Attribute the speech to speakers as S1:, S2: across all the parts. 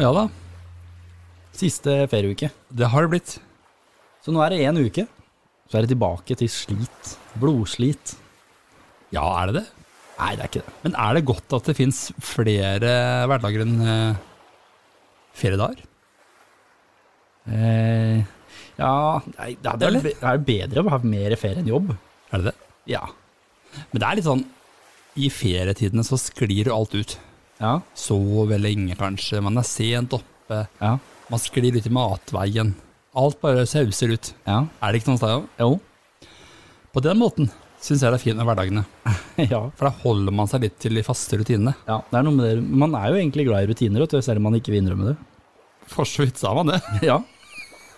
S1: Ja da. Siste ferieuke.
S2: Det har det blitt.
S1: Så nå er det én uke. Så er det tilbake til slit. Blodslit.
S2: Ja, er det det?
S1: Nei, det er ikke det.
S2: Men er det godt at det fins flere hverdager enn eh, feriedager?
S1: Eh, ja nei, det, er vel,
S2: Eller?
S1: det er bedre å ha mer ferie enn jobb.
S2: Er det det?
S1: Ja.
S2: Men det er litt sånn I ferietidene så sklir jo alt ut.
S1: Ja.
S2: Sover lenge, kanskje. Man er sent oppe.
S1: Ja.
S2: Man sklir ut i matveien. Alt bare sauser ut.
S1: ja.
S2: Er det ikke noe sted?
S1: Jo.
S2: På den måten syns jeg det er fint med hverdagene.
S1: ja.
S2: For da holder man seg litt til de faste rutinene.
S1: ja. Det er noe med det. Man er jo egentlig glad i rutiner, vet du, selv om man ikke vil innrømme det.
S2: For så vidt sa man det.
S1: ja.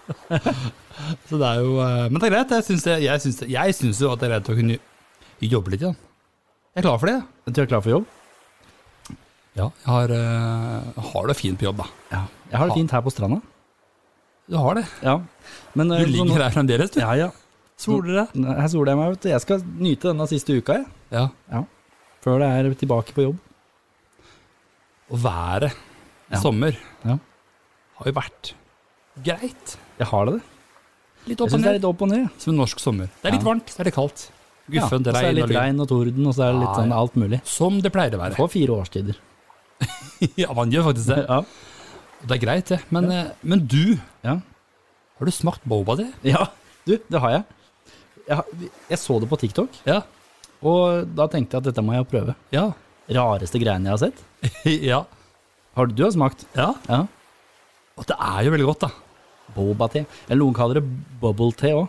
S2: Så det er jo, eh, men det er greit. Jeg syns, det- jeg, syns, det- jeg syns jo at det er greit å kunne jobbe litt igjen. Jeg er klar for det.
S1: Du er klar for jobb?
S2: Ja, jeg har, eh, har det fint på jobb, da.
S1: Ja. Jeg har det fint her på stranda.
S2: Du har det.
S1: Ja. Men, eh, sånn-
S2: Du ligger her fremdeles, du.
S1: Ja, ja.
S2: Soler deg.
S1: Her soler jeg meg, vet du. Jeg skal nyte denne siste uka, jeg.
S2: Ja.
S1: Før det er tilbake på jobb.
S2: Og været i
S1: Ja.
S2: sommer
S1: Ja.
S2: har jo vært greit.
S1: Jeg har det, det.
S2: Litt
S1: Jeg
S2: opp og
S1: syns det er
S2: ned.
S1: litt opp og ned. ja.
S2: Som en norsk sommer. Det er litt
S1: Ja.
S2: varmt, så er det kaldt.
S1: Ja, og så
S2: Guffen,
S1: er det
S2: regn og
S1: litt
S2: lyn.
S1: regn og torden, og så er det litt
S2: Ja,
S1: sånn
S2: ja.
S1: alt mulig.
S2: Som det pleier å
S1: Du
S2: være.
S1: får fire årstider.
S2: Ja, man gjør faktisk det.
S1: Ja.
S2: Og det er greit, det. Men, eh, men du,
S1: ja.
S2: har du smakt boba di?
S1: Ja, du, det har jeg. Jeg, har- jeg så det på TikTok,
S2: Ja.
S1: og da tenkte jeg at dette må jeg prøve.
S2: Ja.
S1: Rareste greiene jeg har sett.
S2: ja.
S1: Har du, du har smakt?
S2: Ja.
S1: Ja.
S2: Og det er jo veldig godt, da.
S1: Boba-te. Eller noen kaller det bubble-te òg.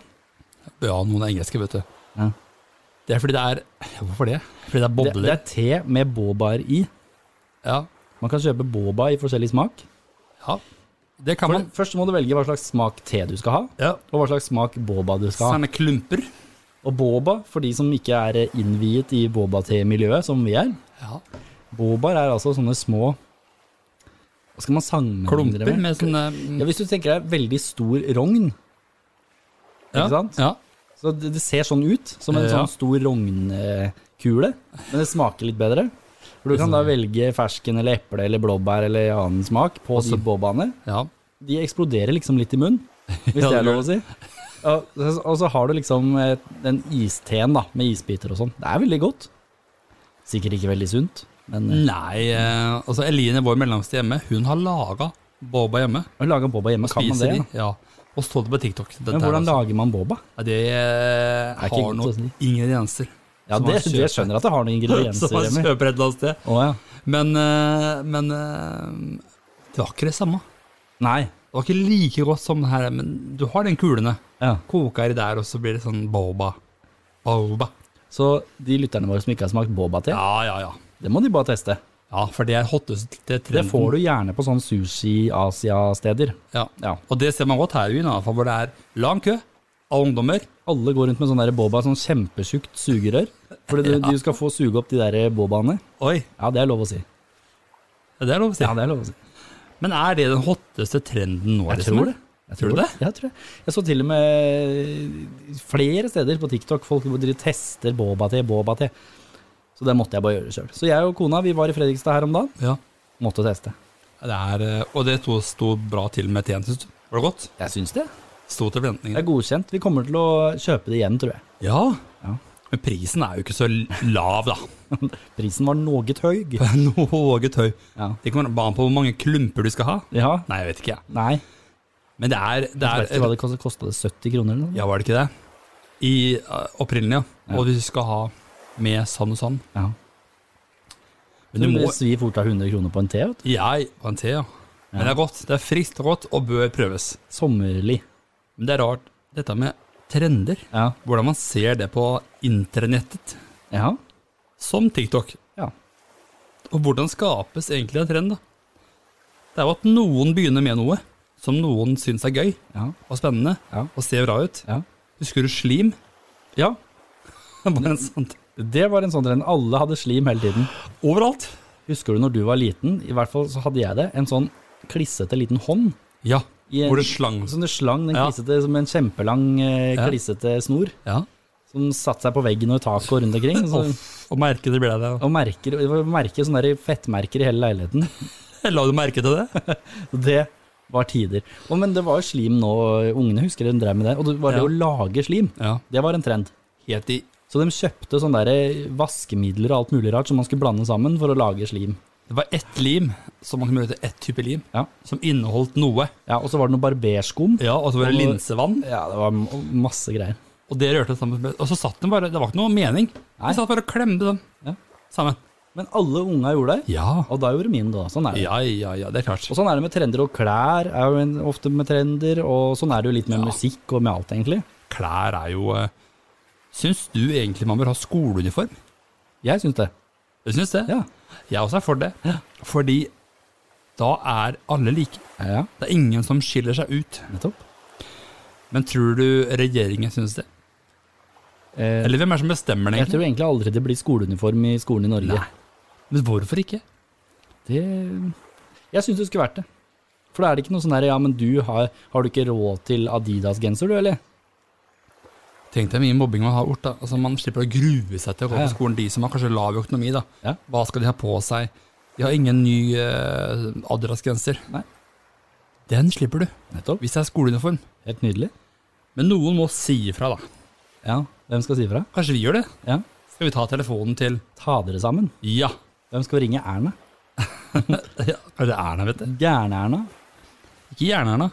S2: Ja, noen er engelske, vet du.
S1: Ja.
S2: Det er fordi det er Hvorfor det? Fordi det er
S1: Det,
S2: bobler.
S1: det er te med bobaer i.
S2: ja.
S1: Man kan kjøpe boba i forskjellig smak.
S2: ja. Det kan
S1: For,
S2: man.
S1: først må du velge hva slags smak te du skal ha,
S2: Ja.
S1: og hva slags smak boba du skal ha.
S2: Sånne klumper.
S1: Og boba, for de som ikke er innviet i boba-te-miljøet, som vi er,
S2: Ja.
S1: Bobar er altså sånne små Hva skal man sammenligne det
S2: Klumper
S1: med?
S2: med sånne
S1: Ja, hvis du tenker deg veldig stor rogn,
S2: ja.
S1: sant?
S2: Ja.
S1: så det, det ser sånn ut, som en
S2: Ja.
S1: sånn stor rognkule, men det smaker litt bedre. For du kan
S2: Sånn.
S1: da velge fersken eller eple eller blåbær eller annen smak på de bobaene.
S2: ja.
S1: De eksploderer liksom litt i munnen, hvis
S2: Ja,
S1: det
S2: det
S1: er lov å si. Og, og så har du liksom eh, den isteen da, med isbiter og sånn. Det er veldig godt. Sikkert ikke veldig sunt, men eh,
S2: Nei, eh, altså Eline, vår mellomste hjemme, hun har laga boba hjemme.
S1: å lage boba hjemme, kan man det?
S2: Spiser
S1: da?
S2: de. Ja. Og så det på TikTok. Dette
S1: Men
S2: her
S1: hvordan
S2: også.
S1: lager man boba?
S2: Ja, det eh,
S1: ikke
S2: har
S1: godt å
S2: noen ingredienser.
S1: Ja,
S2: som
S1: det, det
S2: man kjøper.
S1: skjønner jeg at det har noen
S2: Som
S1: ingredienser.
S2: man
S1: Remi.
S2: kjøper et eller annet sted.
S1: Å ja.
S2: Men, eh, men eh, det var ikke det samme.
S1: Nei.
S2: Det var ikke like godt som det her, men du har den kulene.
S1: Ja.
S2: Koker i der, og så blir det sånn boba. Boba.
S1: Så de lytterne våre som ikke har smakt boba til,
S2: Ja, ja, ja.
S1: det må de bare teste.
S2: Ja, for det er hotteste trenden.
S1: Det får du gjerne på sånne sushi-Asia-steder.
S2: Ja.
S1: Ja.
S2: Og det ser man godt her i byen, i hvert fall, hvor det er lang kø av ungdommer.
S1: Alle går rundt med sånn der boba, sånn kjempetjukt sugerør. Fordi du, du skal få suge opp de der bobaene.
S2: Oi,
S1: Ja, det er lov å si.
S2: det er lov å si.
S1: Ja, det er lov å si.
S2: Men er det den hotteste trenden nå?
S1: Jeg
S2: liksom,
S1: tror
S2: eller?
S1: det.
S2: Tror du det?
S1: Ja, Jeg tror det. Jeg så til og med flere steder på TikTok folk hvor de tester boba-te, boba-te. Så det måtte jeg bare gjøre sjøl. Så jeg og kona vi var i Fredrikstad her om dagen.
S2: Ja.
S1: Måtte teste.
S2: Det er, eh, og det to sto bra til med teen, syns du? Var det godt?
S1: Jeg syns det.
S2: Sto til
S1: Det
S2: forventningene.
S1: er godkjent. Vi kommer til å kjøpe det igjen, tror jeg.
S2: Ja.
S1: Ja.
S2: Men prisen er jo ikke så lav, da.
S1: Prisen var noe høy.
S2: Noe tøy.
S1: Ja.
S2: Det kommer bare an på hvor mange klumper du skal ha.
S1: ja.
S2: Nei, jeg vet ikke. jeg.
S1: Nei.
S2: Men det er, det
S1: Jeg vet ikke
S2: er
S1: hva det kostet. Kosta det 70 kroner eller noe?
S2: Ja, var det ikke det? I eh, opprinnelig, ja. Og du skal ha med sand og sand.
S1: Ja.
S2: Men du må
S1: Det svir fort av 100 kroner på en te. vet du.
S2: Jeg og en te, ja. Men det er godt. Det er friskt og godt og bør prøves.
S1: Sommerlig.
S2: Men det er rart, dette med trender.
S1: Ja.
S2: Hvordan man ser det på internettet,
S1: Ja.
S2: som TikTok.
S1: ja.
S2: Og hvordan skapes egentlig en trend, da? Det er jo at noen begynner med noe som noen syns er gøy
S1: Ja.
S2: og spennende
S1: Ja.
S2: og ser bra ut.
S1: ja.
S2: Husker du slim?
S1: ja.
S2: Bare en sånn
S1: Det var en sånn trend. Alle hadde slim hele tiden.
S2: Overalt.
S1: Husker du når du var liten, i hvert fall så hadde jeg det, en sånn klissete liten hånd.
S2: Ja.
S1: I en-
S2: Hvor det slang
S1: Som det slang den
S2: Ja.
S1: klissete som en kjempelang, eh,
S2: Ja.
S1: klissete snor.
S2: Ja.
S1: Som satte seg på veggen og i taket og rundt omkring. og Så,
S2: Off. Og merke det ble det.
S1: og merker, det var merker, sånne der fettmerker i hele leiligheten.
S2: La du merke til det?
S1: Det var tider. Å, men det var jo slim nå, ungene husker de drev med det. Og det var det
S2: Ja.
S1: å lage slim.
S2: Ja.
S1: Det var en trend.
S2: Helt i
S1: Så de kjøpte sånne der eh, vaskemidler og alt mulig rart som man skulle blande sammen for å lage slim.
S2: Det var ett lim, som man kunne møte ett type lim,
S1: Ja.
S2: som inneholdt noe.
S1: Ja, Og så var det noe barberskum.
S2: Ja, og så var det
S1: Og-
S2: linsevann,
S1: Ja, det var m- masse greier.
S2: og det rørte sammen. med- Og så satt den bare, det var ikke noe mening.
S1: Nei.
S2: Den satt bare og klemte den
S1: Ja.
S2: sammen.
S1: Men alle unga gjorde det.
S2: Ja.
S1: Og da gjorde min det. da. Sånn er det.
S2: ja, ja, ja, det er klart.
S1: Og sånn er det med trender, og klær er jo en- ofte med trender. Og sånn er det jo litt med
S2: Ja.
S1: musikk og med alt, egentlig.
S2: Klær er jo eh, Syns du egentlig man bør ha skoleuniform?
S1: Jeg syns det.
S2: Jeg syns det.
S1: Ja.
S2: Jeg også er for det. Fordi da er alle like.
S1: Ja, ja,
S2: Det er ingen som skiller seg ut.
S1: nettopp.
S2: Men tror du regjeringen syns det?
S1: Eh,
S2: Eller hvem er det som bestemmer det,
S1: jeg tror
S2: egentlig?
S1: egentlig aldri det blir skoleuniform i skolen i Norge.
S2: Nei. Men hvorfor ikke?
S1: Det, jeg syns det skulle vært det. For da er det ikke noe sånn der Ja, men du har, har du ikke råd til Adidas-genser, du, eller?
S2: Tenk deg mye mobbing man har gjort. da. Altså, man slipper å grue seg til å gå
S1: Ja, ja.
S2: på skolen. De som har kanskje lav økonomi, da.
S1: Ja.
S2: Hva skal de ha på seg? De har ingen ny eh, Adidas-genser.
S1: Nei.
S2: Den slipper du,
S1: Nettopp.
S2: hvis det er skoleuniform.
S1: Helt nydelig.
S2: Men noen må si ifra, da.
S1: Ja, hvem skal si fra?
S2: Kanskje vi gjør det?
S1: Ja.
S2: Skal vi ta telefonen til
S1: Ta dere sammen.
S2: Ja.
S1: Hvem skal ringe Erna?
S2: ja. Kanskje det er Erna, vet du.
S1: Gærne-Erna?
S2: Ikke Jern-Erna.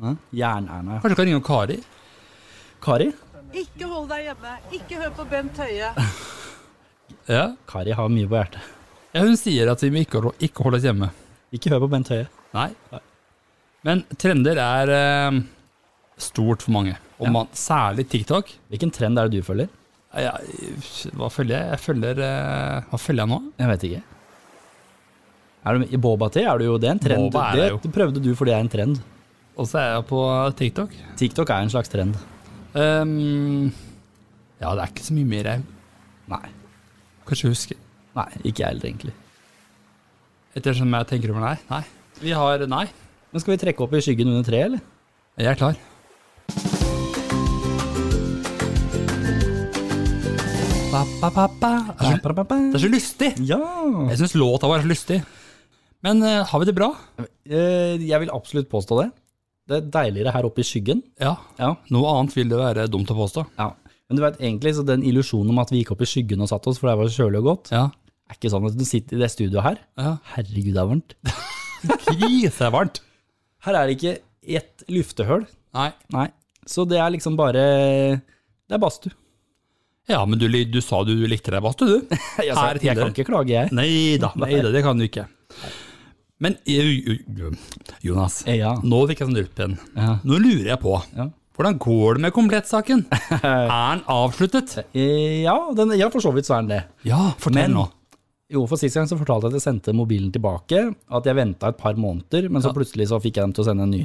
S1: Ja, Jern-Erna.
S2: Kanskje du kan ringe Kari?
S1: Kari?
S3: Ikke hold deg hjemme. Ikke hør på Bent Høie.
S2: Ja.
S1: Kari har mye på hjertet.
S2: ja. Hun sier at vi må ikke, holde- ikke holde oss hjemme.
S1: Ikke hør på Bent Høie.
S2: Nei. Men trender er eh, stort for mange. Og
S1: Ja.
S2: man, særlig TikTok.
S1: Hvilken trend er det du følger?
S2: Nei, Jeg, hva følger jeg? Jeg følger eh, Hva følger jeg nå?
S1: Jeg vet ikke. Er du, I Boba-te er du jo det er en trend.
S2: Boba er det jo.
S1: det prøvde du fordi det er en trend.
S2: Og så er jeg på TikTok.
S1: TikTok er en slags trend.
S2: Ehm, ja, det er ikke så mye mer jeg
S1: Nei.
S2: kanskje husker.
S1: Nei, ikke jeg heller, egentlig.
S2: Ettersom jeg tenker over det her. Nei. Vi har Nei.
S1: Men skal vi trekke opp i skyggen under treet, eller?
S2: Jeg er klar. Ba, ba, ba, ba. Det, er så, det er så lystig!
S1: Ja!
S2: Jeg syns låta var så lystig. Men eh, har vi det bra?
S1: Eh, Jeg vil absolutt påstå det. Det er deiligere her oppe i skyggen.
S2: Ja.
S1: Ja.
S2: Noe annet vil det være dumt å påstå.
S1: ja. Men du vet, egentlig så den illusjonen om at vi gikk opp i skyggen og satt oss, for det var så kjølig og godt,
S2: Ja.
S1: er ikke sånn at du sitter i det studioet her.
S2: ja.
S1: Herregud, det er varmt.
S2: Krise er varmt.
S1: Her er det ikke ett luftehøl.
S2: Nei.
S1: Nei. Så det er liksom bare Det er badstue.
S2: Ja, men du, li- du sa du likte deg badstue, du.
S1: Jeg,
S2: sa-
S1: jeg kan ikke klage, jeg.
S2: Nei da, nei da, det kan du ikke. Men eh, jo, jo, Jonas,
S1: Eh, Ja.
S2: nå fikk jeg sånn dryppen.
S1: Ja.
S2: Nå lurer jeg på,
S1: Ja.
S2: hvordan går det med komplettsaken? Er den avsluttet?
S1: Eh, ja, den, ja, for så vidt så er den det.
S2: Ja, fortell
S1: Men-
S2: nå.
S1: Jo, for Sist gang så fortalte jeg at jeg sendte mobilen tilbake. At jeg venta et par måneder, men så
S2: Ja.
S1: plutselig så fikk jeg dem til å sende en ny.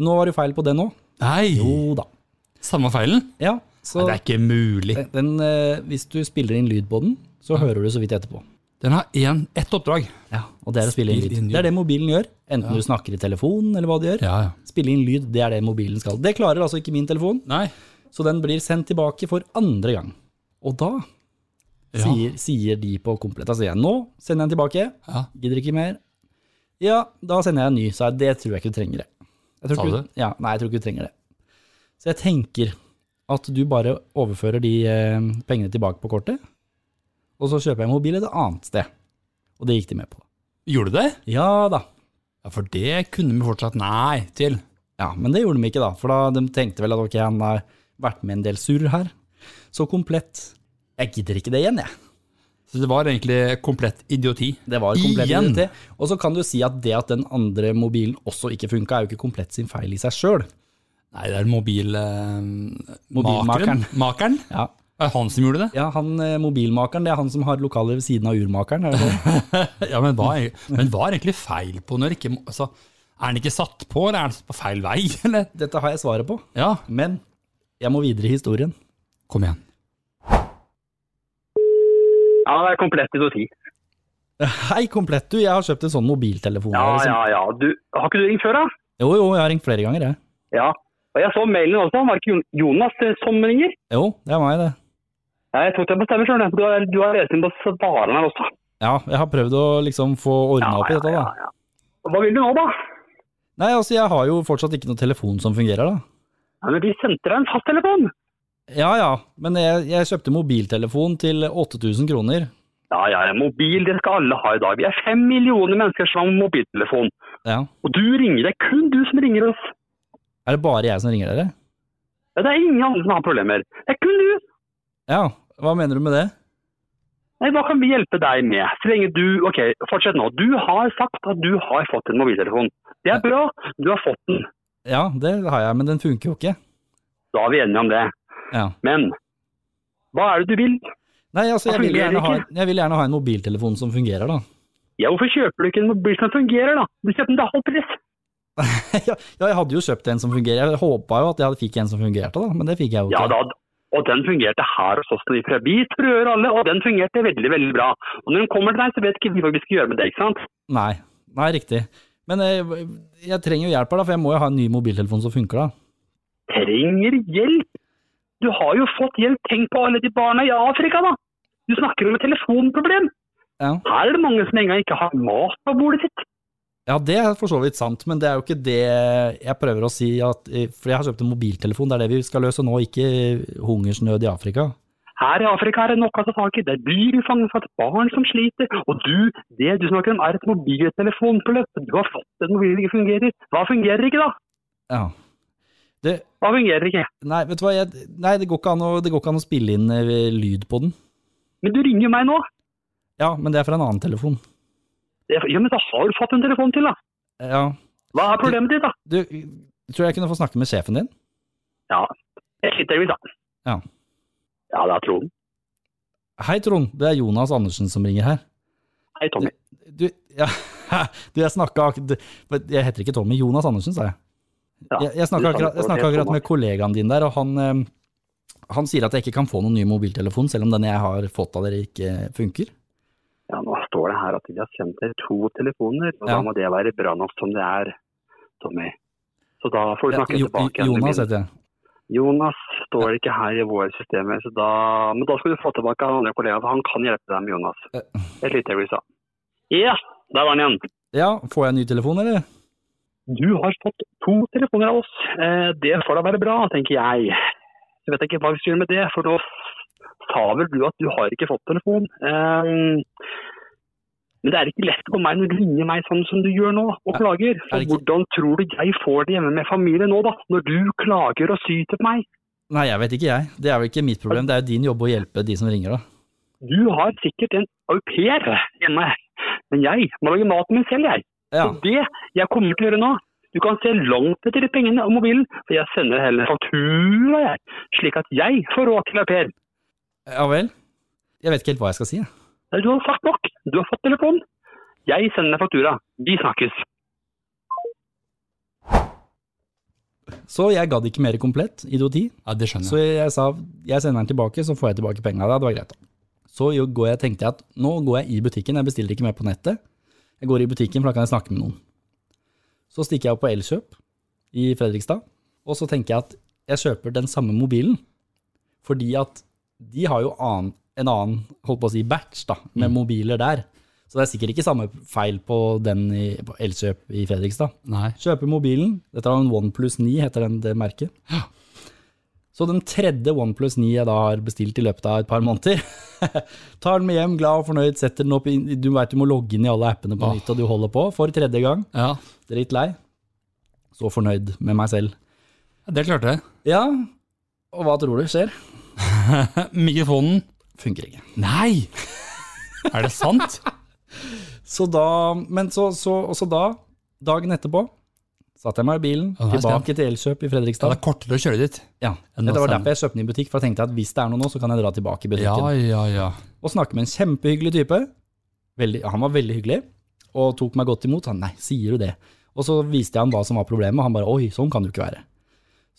S1: Nå var det feil på det nå.
S2: Nei,
S1: Jo da.
S2: samme feilen?
S1: Ja,
S2: Nei,
S1: så
S2: det er ikke mulig.
S1: den, eh, Hvis du spiller inn lyd på den, så hører du så vidt etterpå.
S2: Den har en, ett oppdrag.
S1: Ja, Og det er å spille inn
S2: Spill
S1: lyd.
S2: inn
S1: Det er det mobilen gjør. Enten du snakker i telefonen eller hva du gjør.
S2: Ja, ja.
S1: Spille inn lyd, det er det mobilen skal. Det klarer altså ikke min telefon,
S2: Nei.
S1: så den blir sendt tilbake for andre gang. Og da
S2: Ja.
S1: sier, sier de på Komplett Da sier jeg nå sender jeg den tilbake,
S2: Ja.
S1: gidder ikke mer. Ja, da sender jeg en ny, sa jeg. Det tror jeg ikke du trenger. det. Jeg
S2: Sa
S1: tror
S2: du
S1: ikke,
S2: det?
S1: ja, nei, jeg tror ikke du trenger det. Så jeg tenker at du bare overfører de eh, pengene tilbake på kortet, og så kjøper jeg en mobil et annet sted. Og det gikk de med på.
S2: Gjorde du det?
S1: Ja da.
S2: Ja, for det kunne vi fortsatt nei til.
S1: Ja, Men det gjorde de ikke, da. For da de tenkte vel at ok, han har vært med en del surr her. Så komplett. Jeg gidder ikke det igjen, jeg.
S2: Så det var egentlig komplett idioti.
S1: Det var komplett
S2: Igjen.
S1: identitet. Og så kan du si at det at den andre mobilen også ikke funka, er jo ikke komplett sin feil i seg sjøl.
S2: Nei, det er mobilmakeren.
S1: Mobilmakeren.
S2: Makeren?
S1: Ja.
S2: Er det han som gjorde det?
S1: ja, han eh, mobilmakeren, det er han som har lokaler ved siden av urmakeren. Er det det?
S2: Ja, men hva, er, men hva er egentlig feil på når ikke altså, Er den ikke satt på, eller er den på feil vei, eller?
S1: Dette har jeg svaret på,
S2: Ja,
S1: men jeg må videre i historien.
S2: kom igjen.
S4: Ja, det er komplett idioti.
S1: Hei, komplett du, jeg har kjøpt en sånn mobiltelefon.
S4: Ja,
S1: her, liksom.
S4: ja, ja. Du, har ikke du ringt før, da?
S1: Jo, jo, jeg har ringt flere ganger, jeg.
S4: Ja. Og jeg så mailen også. Var det ikke Jon- Jonas eh, som ringer?
S1: Jo, det er meg, det.
S4: Nei, jeg tok deg på stemmen sjøl. Du har, du har lest inn på svareren her også.
S1: Ja, jeg har prøvd å liksom få ordna opp i dette, da.
S4: ja. Hva vil du nå, da?
S1: Nei, altså jeg har jo fortsatt ikke noen telefon som fungerer, da.
S4: Ja, men de sendte deg en fasttelefon!
S1: Ja ja, men jeg, jeg kjøpte mobiltelefon til 8000 kroner.
S4: Ja, ja, ja, mobil det skal alle ha i dag. Vi er fem millioner mennesker som har mobiltelefon.
S1: Ja.
S4: Og du ringer, det er kun du som ringer oss.
S1: Er det bare jeg som ringer dere?
S4: Ja, det er ingen andre som har problemer. Det er kun du.
S1: Ja, hva mener du med det?
S4: Nei, hva kan vi hjelpe deg med? Så lenge du Ok, fortsett nå. Du har sagt at du har fått en mobiltelefon. Det er bra, du har fått den.
S1: Ja, det har jeg, men den funker jo ikke.
S4: Da er vi enige om det.
S1: Ja.
S4: Men hva er det du vil?
S1: Nei, altså
S4: Da
S1: jeg vil,
S4: fungerer det
S1: gjerne ha,
S4: ikke.
S1: jeg vil gjerne ha en mobiltelefon som fungerer, da.
S4: Ja, hvorfor kjøper du ikke en mobil som fungerer, da? Du kjøper den til halv pris.
S1: ja, ja, jeg hadde jo kjøpt en som fungerer. Jeg håpa jo at jeg fikk en som fungerte, da, men det fikk jeg jo
S4: Ja
S1: ikke.
S4: da, og den fungerte her hos oss. Vi prøver- vi prøver alle, og den fungerte veldig, veldig bra. Og når den kommer til deg, så vet ikke vi hva vi skal gjøre med det, ikke sant?
S1: Nei, nei, riktig. Men jeg, jeg trenger jo hjelp her, da, for jeg må jo ha en ny mobiltelefon som funker, da.
S4: Trenger hjelp! Du har jo fått hjelp. Tenk på alle de barna i Afrika, da! Du snakker om et telefonproblem.
S1: Ja,
S4: Her er det mange som engang ikke har mat på bordet sitt.
S1: ja det er for så vidt sant, men det er jo ikke det jeg prøver å si. At, for jeg har kjøpt en mobiltelefon, det er det vi skal løse nå, ikke hungersnød i Afrika.
S4: Her i Afrika er det nok å ta tak i. Det er dyr i fangenskap, barn som sliter. Og du, det du snakker om er et mobiltelefonbeløp. Du har fått en mobil som ikke fungerer. Hva fungerer ikke, da?
S1: Ja. Det,
S4: Hva fungerer ikke?
S1: nei, vet du hva, jeg, nei, det, går ikke an å, det går ikke an å spille inn eh, lyd på den.
S4: Men du ringer meg nå.
S1: Ja, men det er fra en annen telefon.
S4: Det- Ja, men da har du fått en telefon til, da.
S1: Ja.
S4: Hva er problemet ditt, da?
S1: Du, tror jeg kunne få snakke med sjefen din?
S4: Ja, jeg sitter i mitt, da.
S1: Ja.
S4: Ja, det er Trond.
S1: Hei, Trond. Det er Jonas Andersen som ringer her.
S4: Hei, Tommy.
S1: Du, ja, du jeg snakka ak- du- men Jeg heter ikke Tommy. Jonas Andersen, sa jeg.
S4: Ja,
S1: Jeg, jeg snakka
S4: du sa
S1: akkurat, jeg
S4: nettopp
S1: snakket
S4: det,
S1: akkurat med kollegaen din der, og han, eh, han sier at jeg ikke kan få noen ny mobiltelefon, selv om den jeg har fått av dere, ikke funker.
S4: Ja, nå står det her at de har sendt deg to telefoner, og
S1: Ja.
S4: da må det være bra nok som det er, Tommy. Så da får du
S1: Ja,
S4: snakke
S1: Jo-
S4: tilbake. igjen.
S1: Jonas heter jeg.
S4: Jonas står det ikke her i våre systemer, så da, men da skal du få tilbake han andre kollegaen, for han kan hjelpe deg med Jonas.
S1: Eh.
S4: Et lite øyeblikk, da. Ja, der var han igjen.
S1: Ja, får jeg en ny telefon, eller?
S4: Du har fått to telefoner av oss. Eh, det får da være bra, tenker jeg. Så vet jeg ikke hva vi skal gjøre med det, for nå sa vel du at du har ikke fått telefon. Eh, men det er ikke lett på meg når du ringer meg sånn som du gjør nå, og klager.
S1: er
S4: Så
S1: det ikke-
S4: hvordan tror du jeg får det hjemme med familien nå, da? Når du klager og syter på meg?
S1: Nei, jeg vet ikke, jeg. Det er vel ikke mitt problem. Det er jo din jobb å hjelpe de som ringer, da.
S4: Du har sikkert en au pair hjemme, men jeg må lage maten min selv, jeg.
S1: Ja,
S4: Og det jeg kommer til å gjøre nå, du kan se langt etter de pengene og mobilen, for jeg sender heller faktura, jeg, slik at jeg får råd til au pair.
S1: ja vel? Jeg vet ikke helt hva jeg skal si, jeg.
S4: Nei, Du har sagt nok, du har fått telefon. Jeg sender deg faktura, vi snakkes.
S1: Så jeg gadd ikke mer komplett idioti.
S2: Ja, det skjønner jeg.
S1: Så jeg sa jeg sender den tilbake, så får jeg tilbake penga. Det var greit. da. Så jo går jeg, tenkte jeg at nå går jeg i butikken, jeg bestiller ikke mer på nettet. Jeg går i butikken, for da kan jeg snakke med noen. Så stikker jeg opp på Elkjøp i Fredrikstad, og så tenker jeg at jeg kjøper den samme mobilen, fordi at de har jo annen, en annen holdt på å si batch da, med
S2: Mm.
S1: mobiler der. Så det er sikkert ikke samme feil på den i, på Elkjøp i Fredrikstad.
S2: Nei.
S1: Kjøper mobilen. Dette er en OnePlus 9, heter den det merket. Så den tredje OnePlus 9 jeg da har bestilt i løpet av et par måneder, tar den med hjem, glad og fornøyd, setter den opp i Du veit du må logge inn i alle appene på
S2: Åh.
S1: nytt, og du holder på for tredje gang.
S2: Ja,
S1: Drittlei. Så fornøyd med meg selv.
S2: det klarte jeg.
S1: Ja, og hva tror du skjer?
S2: Mikrofonen.
S1: Funker ikke.
S2: Nei! Er det sant?
S1: Så da, men så, så, og så da, dagen etterpå, satte jeg meg i bilen,
S2: Å, nei,
S1: tilbake til Elkjøp i
S2: Ja,
S1: Fredrikstad.
S2: det er kortere å kjøre dit.
S1: Ja,
S2: Enn å
S1: Det var
S2: sende.
S1: derfor jeg kjøpte den i butikk, for jeg tenkte at hvis det er noe nå, så kan jeg dra tilbake i
S2: Ja,
S1: butikken.
S2: ja, ja.
S1: og snakke med en kjempehyggelig type. Veldig, han var veldig hyggelig, og tok meg godt imot. Han, nei, sier du det? Og så viste jeg han hva som var problemet, og han bare, oi, sånn kan det jo ikke være.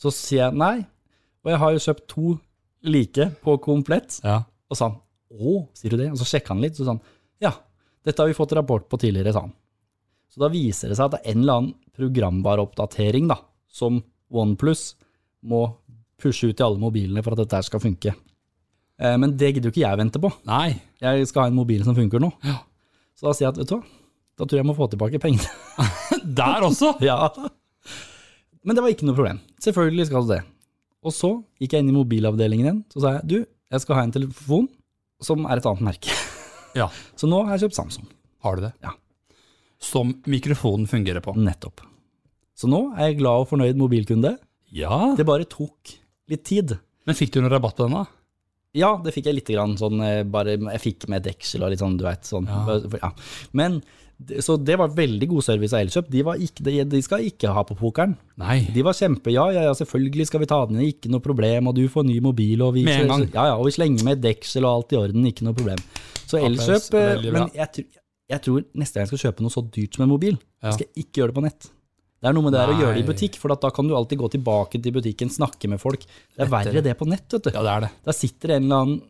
S1: Så sier jeg nei, og jeg har jo kjøpt to like på komplett,
S2: ja.
S1: og sa han, å, sier du det? Og så sjekket han litt, så sa han, ja, dette har vi fått rapport på tidligere, sa han. Så da viser det seg at det er en eller annen programbar oppdatering da, som OnePlus må pushe ut i alle mobilene for at dette her skal funke. Eh, Men det gidder jo ikke jeg vente på
S2: Nei.
S1: jeg skal ha en mobil som funker nå. Så da sier jeg at vet du hva, Da tror jeg jeg må få tilbake pengene.
S2: Der også!
S1: ja. Men det var ikke noe problem. Selvfølgelig skal du det. Og så gikk jeg inn i mobilavdelingen igjen, så sa jeg du, jeg skal ha en telefon som er et annet merke.
S2: Ja.
S1: Så nå har jeg kjøpt Samsung.
S2: Har du det?
S1: Ja.
S2: Som mikrofonen fungerer på.
S1: Nettopp. Så nå er jeg glad og fornøyd mobilkunde.
S2: Ja.
S1: Det bare tok litt tid.
S2: Men fikk du noe rabatt på den, da?
S1: Ja, det fikk jeg litt grann sånn, eh, bare, jeg fikk med deksel og litt sånn, du vet, sånn.
S2: Ja.
S1: Bare- Ja. Men, det- så det var veldig god service av Elkjøp. De, var ikke, de, de skal ikke ha på pokeren.
S2: Nei.
S1: De var kjempe, ja, ja, ja, selvfølgelig skal vi ta den, ikke noe problem, og du får ny mobil, og vi,
S2: Med en gang.
S1: Ja, ja, og vi slenger med deksel og alt i orden, ikke noe problem. Så
S2: Applaus,
S1: Elkjøp, eh,
S2: veldig bra.
S1: men jeg, tror- jeg tror neste gang jeg skal kjøpe noe så dyrt som en mobil,
S2: Ja.
S1: skal jeg ikke gjøre det på nett. Det er noe med det her å gjøre det i
S2: Nei.
S1: butikk, for at da kan du alltid gå tilbake til butikken, snakke med folk. Det er verre det på nett, vet du.
S2: Ja, det er det.
S1: Der sitter en eller annen,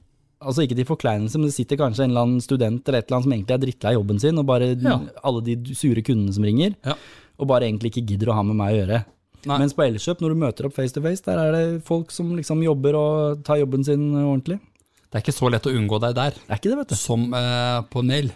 S1: altså ikke til forkleinelse, men det sitter kanskje en eller annen student eller et eller annet som egentlig er drittlei jobben sin, og bare
S2: Ja.
S1: alle de sure kundene som ringer,
S2: Ja.
S1: og bare egentlig ikke gidder å ha med meg å gjøre.
S2: Nei.
S1: Mens på Elkjøp, når du møter opp face to face, der er det folk som liksom jobber og tar jobben sin ordentlig.
S2: Det er ikke så lett å unngå deg der,
S1: Det er ikke det, vet du.
S2: som eh, på Nail.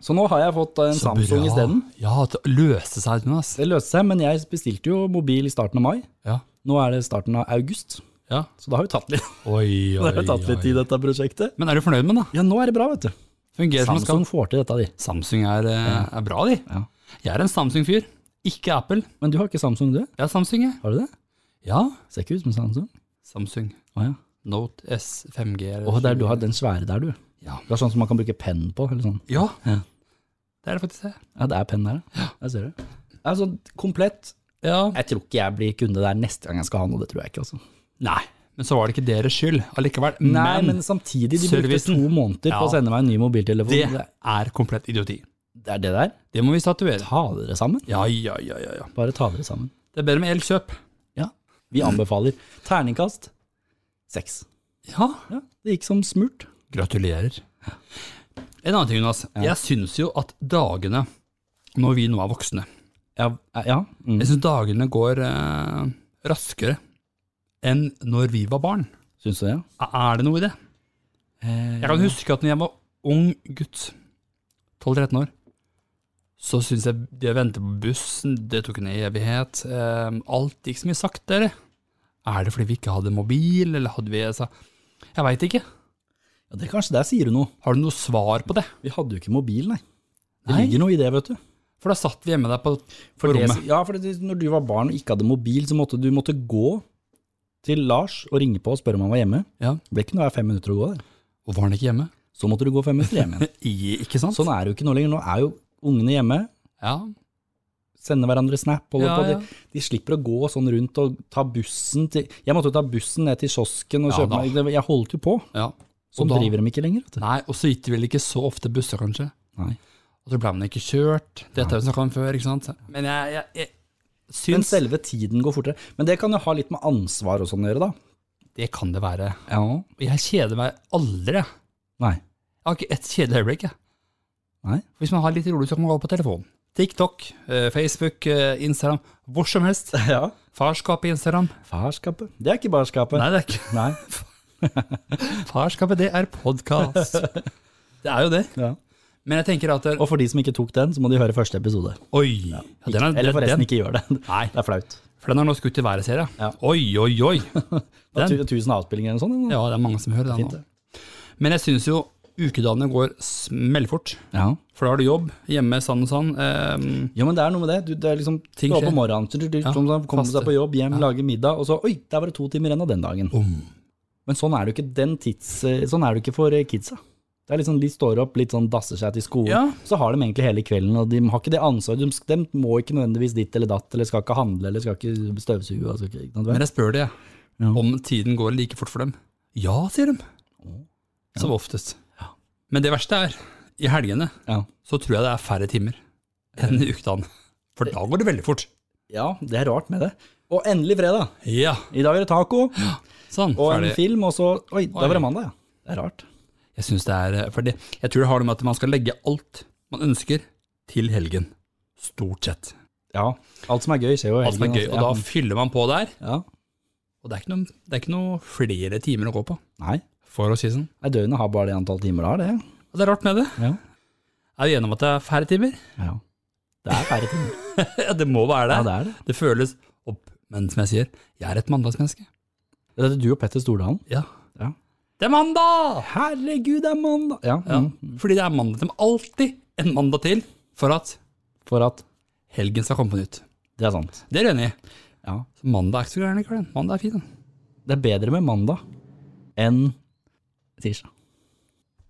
S1: Så nå har jeg fått eh, en
S2: Så
S1: Samsung
S2: bra.
S1: isteden.
S2: Ja, det løste seg, Jonas.
S1: Det løste seg, men jeg bestilte jo mobil i starten av mai.
S2: Ja.
S1: Nå er det starten av august,
S2: ja.
S1: så det har jo tatt litt,
S2: Oi,
S1: det
S2: oi,
S1: har jo tatt litt
S2: oi.
S1: tid, dette prosjektet.
S2: Men er du fornøyd med den, da?
S1: Ja, nå er det bra, vet du.
S2: Fungerer som den skal.
S1: Samsung får til dette, de.
S2: Samsung er, eh, er bra, de.
S1: Ja.
S2: Jeg er en Samsung-fyr. Ikke Apple.
S1: Men du har ikke Samsung, du?
S2: Jeg er Samsung, jeg.
S1: Har du det?
S2: Ja,
S1: Ser ikke ut som Samsung.
S2: Samsung.
S1: Å ja.
S2: Note S 5G. eller
S1: Å, der, du
S2: 20.
S1: har den svære der, du.
S2: Ja.
S1: Det er sånn som man kan bruke penn på. eller sånn.
S2: Ja,
S1: Ja.
S2: det er det faktisk. det.
S1: Ja, det er penn der, ja. Der ser du. Altså, komplett.
S2: Ja.
S1: Jeg tror ikke jeg blir kunde der neste gang jeg skal ha noe, det tror jeg ikke. altså.
S2: Nei, men så var det ikke deres skyld allikevel.
S1: Nei, men,
S2: men
S1: samtidig, de
S2: servicen.
S1: brukte to måneder på å
S2: Ja.
S1: sende meg en ny mobiltelefon.
S2: det
S1: Det,
S2: er komplett idioti.
S1: det er det der.
S2: Det må vi statuere.
S1: Ta dere sammen.
S2: Ja, ja, ja, ja. ja.
S1: Bare ta dere sammen.
S2: Det er bedre med elkjøp.
S1: Ja, vi anbefaler. Terningkast seks.
S2: Ja,
S1: Ja, det gikk som smurt.
S2: gratulerer. En annen ting, Jonas. Jeg syns jo at dagene, når vi nå er voksne
S1: Ja. ja. Mm.
S2: Jeg syns dagene går eh, raskere enn når vi var barn.
S1: Syns du det? ja?
S2: Er det noe i det? Jeg kan huske at når jeg var ung gutt, 12-13 år, så syntes jeg det å vente på bussen, det tok en evighet. eh, Alt gikk så mye saktere. Er det fordi vi ikke hadde mobil, eller hadde vi altså, Jeg veit ikke.
S1: ja, det Kanskje der sier du noe.
S2: Har du noe svar på det?
S1: Vi hadde jo ikke mobil, nei. Det
S2: Nei.
S1: ligger noe i det, vet du.
S2: For da satt vi hjemme der på, på
S1: For det,
S2: rommet.
S1: ja, for det, når du var barn og ikke hadde mobil, så måtte du måtte gå til Lars og ringe på og spørre om han var hjemme.
S2: Ja.
S1: Det ble ikke noe av fem minutter å gå der.
S2: Og var han ikke hjemme?
S1: Så måtte du gå fem minutter hjem igjen.
S2: I- ikke sant?
S1: Sånn er det jo ikke nå lenger. Nå er jo ungene hjemme,
S2: Ja.
S1: sender hverandre snap, holder
S2: Ja,
S1: på.
S2: ja.
S1: De, de slipper å gå sånn rundt og ta bussen til Jeg måtte jo ta bussen ned til kiosken og
S2: Ja,
S1: kjøpe meg Jeg holdt jo på.
S2: ja.
S1: Sånn
S2: da-
S1: driver de ikke lenger, vet du.
S2: Nei, og så gikk det vel ikke så ofte busser, kanskje.
S1: Nei.
S2: Og så ble man ikke kjørt. Dette har vi snakka om før, ikke sant. Men jeg, jeg, jeg
S1: Men
S2: syns
S1: selve tiden går fortere. Men det kan jo ha litt med ansvar og sånn å gjøre, da.
S2: Det kan det være.
S1: Ja.
S2: Og jeg kjeder meg aldri. Jeg
S1: Nei.
S2: har ikke ett kjedelig øyeblikk. jeg.
S1: Nei.
S2: Hvis man har litt rolig, så kan man gå på telefonen. TikTok, eh, Facebook, eh, Instagram. Hvor som helst.
S1: Ja.
S2: Farskap i Instagram.
S1: Farskapet. Det er ikke barskapet.
S2: Nei, det er ikke
S1: Nei.
S2: Farskapet, det er podkast. Det er jo det.
S1: Ja.
S2: Men jeg tenker at det,
S1: Og for de som ikke tok den, så må de høre første episode.
S2: Oi! Ja, den er,
S1: Eller forresten,
S2: den,
S1: ikke gjør det.
S2: Nei,
S1: Det er flaut.
S2: for den har nå skutt i været, ser jeg.
S1: Ja.
S2: Oi, oi, oi!
S1: Det er
S2: Den.
S1: tu- tusen avspillinger eller noe sånt.
S2: Ja, det er mange som hører den
S1: Fint,
S2: nå. Men jeg syns jo ukedagene går smellfort.
S1: Ja.
S2: For da har du jobb, hjemme, sånn og sånn. ehm,
S1: Jo, men det er noe med det. Du, det er liksom,
S2: Ting
S1: Ting skjer.
S2: skjer.
S1: På morgenen, så du, du,
S2: Ja,
S1: sånn, sånn, kommer
S2: faste.
S1: seg på jobb, hjem, lager middag, og så Oi, der var det to timer igjen av den dagen. Men sånn er det jo ikke den tids... eh, Sånn er det jo ikke for eh, kidsa. Det er liksom, De står opp, litt sånn dasser seg til skolen,
S2: Ja.
S1: så har de egentlig hele kvelden. og De har ikke det ansvaret. De, de må ikke nødvendigvis ditt eller datt, eller skal ikke handle, eller skal ikke støvsuge. og skal ikke- ikke sant,
S2: Men
S1: vel?
S2: jeg spør det, jeg.
S1: Ja.
S2: Om tiden går like fort for dem. Ja, sier de. Som oftest. Men det verste er, i helgene
S1: Ja.
S2: så tror jeg det er færre timer enn i ukedagene. For da går det veldig fort.
S1: ja, det er rart med det. Og endelig fredag.
S2: Ja,
S1: I dag er det taco.
S2: sånn.
S1: Og en
S2: Ferdig.
S1: film, og så Oi, da
S2: Oi.
S1: var det mandag, ja. Det er rart.
S2: Jeg synes det er eh, fordi Jeg tror det har det med at man skal legge alt man ønsker, til helgen. Stort sett.
S1: Ja. Alt som er gøy, skjer jo i
S2: Alt som er
S1: helgen,
S2: gøy. Og da
S1: altså.
S2: fyller man på der.
S1: Ja. ja.
S2: Og det er ikke noen, det er ikke noe flere timer å gå på,
S1: Nei.
S2: for å si det sånn.
S1: Nei, døgnet har bare det antall timer det har, det.
S2: Og det er rart med det.
S1: Ja.
S2: Er vi enige om at det er færre timer?
S1: Ja. Det er færre timer.
S2: Ja, det må være det.
S1: Ja,
S2: det.
S1: det er det.
S2: føles opp. Men som jeg sier, jeg er et mandagsmenneske.
S1: Det er du og Petter Stordalen.
S2: Ja.
S1: Ja.
S2: Det er mandag!
S1: Herregud, det er mandag! Ja,
S2: Ja.
S1: Mm.
S2: Fordi det er mandag. Det må alltid en mandag til for at
S1: For at
S2: helgen skal komme på nytt.
S1: Det er sant.
S2: Det er du enig i?
S1: Ja.
S2: Så mandag er ikke så gæren likevel. Mandag er fin. den.
S1: Det er bedre med mandag enn tirsdag.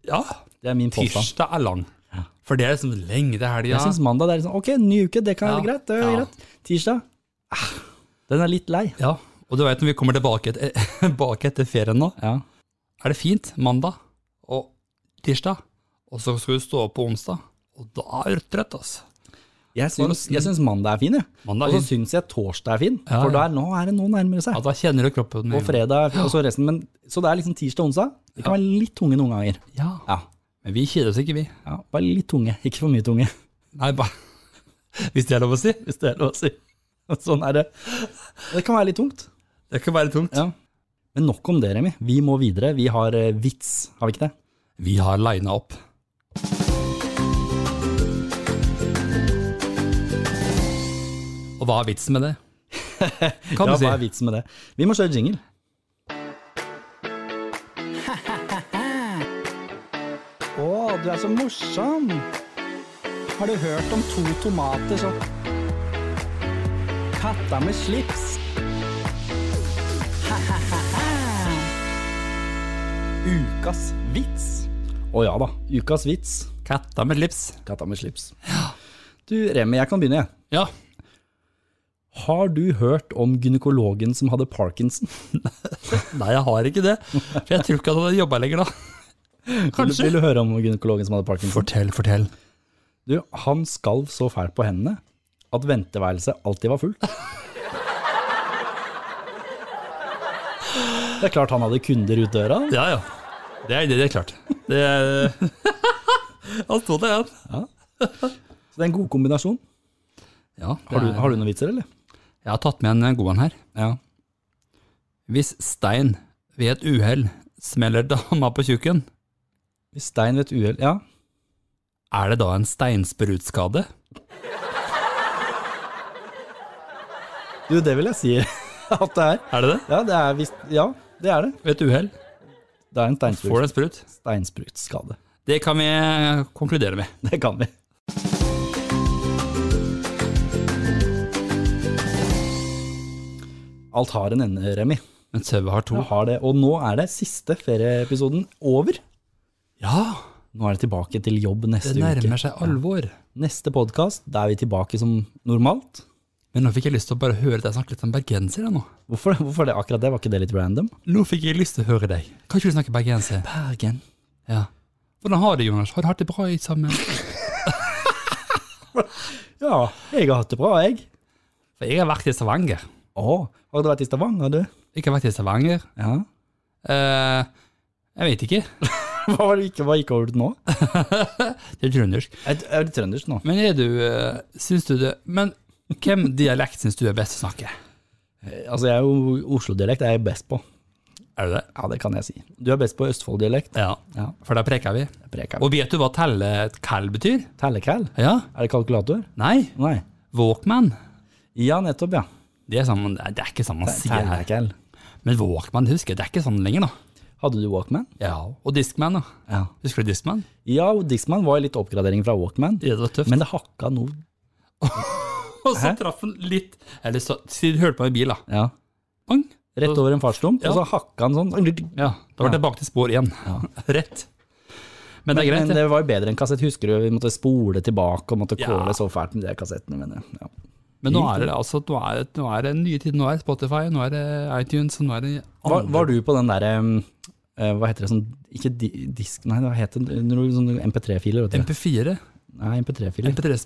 S2: Ja,
S1: Det er min påstand.
S2: tirsdag er lang. For det er liksom lenge til helga.
S1: Jeg syns mandag det er liksom Ok, ny uke, det kan
S2: Ja.
S1: være greit. Det er
S2: Ja.
S1: greit. Tirsdag ah, Den er litt lei.
S2: Ja, og du vet når vi kommer tilbake et, tilbake etter ferien nå,
S1: Ja.
S2: er det fint mandag og tirsdag, og så skal du stå opp på onsdag, og da er du trøtt, altså.
S1: Jeg syns, jeg syns mandag er fin, jeg.
S2: Mandag
S1: Og
S2: er
S1: så
S2: fint.
S1: syns jeg torsdag er fin,
S2: Ja,
S1: for
S2: ja.
S1: der, nå er det noe nærmere seg.
S2: Ja, da kjenner du kroppen med
S1: Og fredag og så resten. Men, så det er liksom tirsdag og onsdag. De kan være litt tunge noen ganger.
S2: Ja,
S1: Ja.
S2: men vi kjeder oss ikke, vi.
S1: ja. Bare litt tunge, ikke for mye tunge.
S2: Nei, bare, hvis det er lov å si.
S1: Hvis det er lov å si. Sånn er det. Det kan være litt tungt.
S2: Det kan være tungt.
S1: Ja. Men nok om det, Remi. Vi må videre. Vi har eh, vits, har vi ikke det?
S2: Vi har lina opp. Og hva er vitsen med det? Kan
S1: ja,
S2: du si.
S1: hva er vitsen med det? Vi må kjøre jingle. Å, du er så morsom! Har du hørt om to tomater som Katta med slips. Ukas vits. Å ja da. Ukas vits.
S2: Katta med slips.
S1: Katta med slips. Du, Remi, jeg kan begynne, jeg.
S2: Ja.
S1: Har du hørt om gynekologen som hadde parkinson?
S2: Nei, jeg har ikke det. For jeg tror ikke at han hadde jobba lenger da. Kanskje.
S1: Vil du høre om gynekologen som hadde parkinson?
S2: Fortell, fortell.
S1: Du, han skalv så fælt på hendene at venteværelset alltid var fullt. Det er klart han hadde kunder ut døra.
S2: Ja, ja. Det er, det er klart. Det er Han sto der, han.
S1: Så det er en god kombinasjon.
S2: Ja, det
S1: Har du,
S2: er-
S1: har du noen vitser, eller?
S2: Jeg har tatt med en eh, god en her.
S1: Ja.
S2: Hvis Stein ved et uhell smeller dama på tjukken,
S1: Hvis Stein ved et uhell Ja.
S2: er det da en steinsprutskade?
S1: Du, det vil jeg si at det er.
S2: Er det det?
S1: Ja, det er visst Ja, det er det.
S2: Ved et uhell
S1: Det er en
S2: får du
S1: steinsprut,
S2: en sprut.
S1: steinsprutskade.
S2: Det kan vi eh, konkludere med.
S1: Det kan vi. Alt har en ende, Remi.
S2: Men Søve har to.
S1: Du har det. Og nå er det siste ferieepisoden over.
S2: Ja,
S1: Nå er det tilbake til jobb neste
S2: det
S1: uke.
S2: nærmer seg alvor.
S1: Neste podkast, da er vi tilbake som normalt.
S2: Men nå fikk jeg lyst til å bare høre deg snakke litt om bergenser. jeg, Nå
S1: Hvorfor, hvorfor det akkurat det? Var ikke det litt random?
S2: Nå fikk jeg lyst til å høre deg. Kan ikke du snakke bergenser?
S1: Bergen.
S2: Ja. Hvordan har du det, Jonas? Har du hatt det bra i sammen?
S1: Ja, jeg har hatt det bra, jeg.
S2: For jeg har vært i Stavanger.
S1: Å, har du vært i Stavanger, du?
S2: Jeg har vært i Stavanger.
S1: Ja.
S2: Eh, jeg vet ikke.
S1: Hva, var det, ikke- hva gikk over til nå?
S2: Det er trøndersk.
S1: Jeg jeg er litt trøndersk nå.
S2: Men er du, eh, syns du det Men hvem dialekt syns du er best å snakke?
S1: Altså, jeg er jo Oslo-dialekt er jeg best på.
S2: Er det det?
S1: Ja, det kan jeg si. Du er best på Østfold-dialekt.
S2: Ja.
S1: Ja.
S2: For da preker vi.
S1: Prekal.
S2: Og vet du hva telle kall betyr?
S1: Tellekall?
S2: Ja?
S1: Er det kalkulator?
S2: Nei?
S1: Nei.
S2: Walkman.
S1: Ja, nettopp, ja.
S2: Det er, sånn, man- det er ikke sånn man sier her.
S1: Tellekall.
S2: Men Walkman, det husker jeg, det er ikke sånn lenger nå.
S1: Hadde du Walkman?
S2: Ja, og Discman da.
S1: Ja.
S2: Husker du Discman?
S1: Ja, og Dixman var jo litt oppgradering fra Walkman,
S2: Ja, det var tøft.
S1: men det hakka noe.
S2: og så traff han litt, eller så, siden du hørte på en bil da.
S1: Ja.
S2: Bang!
S1: Rett over en fartsdump,
S2: Ja.
S1: og så hakka han sånn.
S2: Ja, da var det tilbake til spor igjen. Rett. Men det er greit,
S1: Men eh,
S2: det.
S1: det var jo bedre enn kassett. Husker du, vi måtte spole tilbake og måtte
S2: Ja.
S1: kåle så fælt med de kassettene. Men, ja.
S2: Men nå er det altså, nå er det, nå er det nye tider, nå er det Spotify, nå er det iTunes, og nå er det...
S1: var, var du på den derre Hva heter det sånn Ikke di disk, nei, hva heter det? Noe Sånn MP3-filer, vet du.
S2: MP4,
S1: Nei, MP3-filer.
S2: MP3,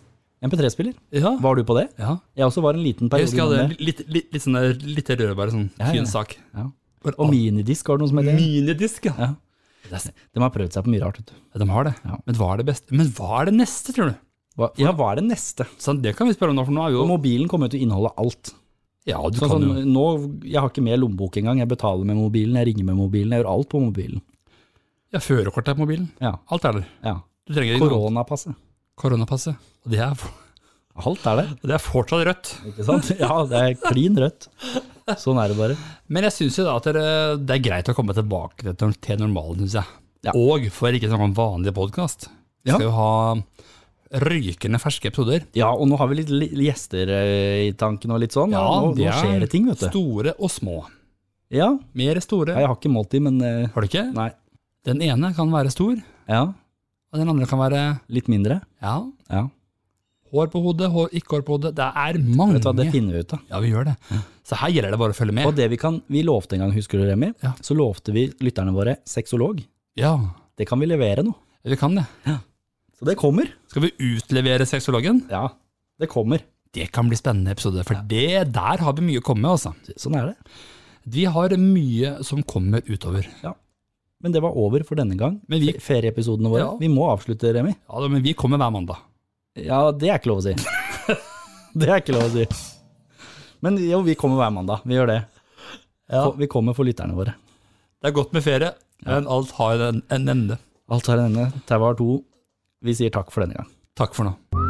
S1: MP3-spiller.
S2: ja.
S1: Var du på det?
S2: Ja,
S1: Jeg også var en liten
S2: jeg
S1: periode
S2: husker jeg hadde
S1: innom det.
S2: en litt, litt, litt sånn der, litt rød, bare sånn,
S1: Ja, ja, ja.
S2: fin sak.
S1: Ja.
S2: Bare
S1: Og minidisk, var det noe som het det?
S2: minidisk, ja.
S1: De har prøvd seg på mye rart, vet du.
S2: Ja, De har det.
S1: Ja.
S2: Men hva er det beste? Men hva er det neste, tror du?
S1: Hva, ja, hva er det neste?
S2: Så det kan vi spørre om nå, for nå er vi jo
S1: Og mobilen kommer jo til å inneholde alt.
S2: Ja, du
S1: Sånn,
S2: kan
S1: sånn,
S2: jo
S1: nå, jeg har ikke med lommebok engang. Jeg betaler med mobilen, jeg ringer med mobilen, jeg gjør alt på mobilen.
S2: ja, Førerkort er på mobilen.
S1: Ja,
S2: Alt er der.
S1: ja.
S2: Du trenger ikke noe.
S1: Koronapasset.
S2: koronapasset. Og det er,
S1: Alt er det,
S2: det er fortsatt rødt.
S1: ikke sant? Ja, det er klin rødt. Sånn er det bare.
S2: Men jeg syns jo da at det, det er greit å komme tilbake til, til normalen, syns jeg.
S1: Ja.
S2: Og for ikke å snakke om vanlig podkast,
S1: Ja.
S2: skal jo ha røykende ferske episoder.
S1: Ja, og nå har vi litt li- gjester eh, i tanken og litt sånn.
S2: Ja,
S1: og nå,
S2: det
S1: nå
S2: er
S1: skjer det ting, vet du.
S2: Store og små.
S1: Ja,
S2: Mer store.
S1: ja, jeg har ikke målt de, men eh,
S2: Har du ikke?
S1: nei.
S2: Den ene kan være stor,
S1: Ja,
S2: og den andre kan være
S1: litt mindre.
S2: ja,
S1: Ja.
S2: hår på hodet, hår, ikke hår på hodet. Det er
S1: Vet du hva, det
S2: mange.
S1: finner vi ut av.
S2: Ja, vi gjør det. Så her gjelder det bare å følge
S1: Og
S2: med.
S1: det vi kan, vi lovte en gang, husker du Remi?
S2: Ja.
S1: Så lovte vi lytterne våre sexolog.
S2: Ja,
S1: Det kan vi levere nå.
S2: vi kan det.
S1: Så det kommer.
S2: Skal vi utlevere sexologen?
S1: Ja, det kommer.
S2: Det kan bli spennende episode, for det der har vi mye å komme med, altså.
S1: Sånn er det.
S2: Vi har mye som kommer utover.
S1: Men det var over for denne gang.
S2: Men vi,
S1: Fe- Ferieepisodene våre.
S2: Ja.
S1: Vi må avslutte, Remi.
S2: ja, da, men vi kommer hver mandag.
S1: Ja, det er ikke lov å si. det er ikke lov å si. Men jo, vi kommer hver mandag. Vi gjør det. For- Vi kommer for lytterne våre.
S2: Det er godt med ferie, men alt har en, en ende.
S1: Alt har en ende. Tauet har to. Vi sier takk for denne gang.
S2: Takk for nå.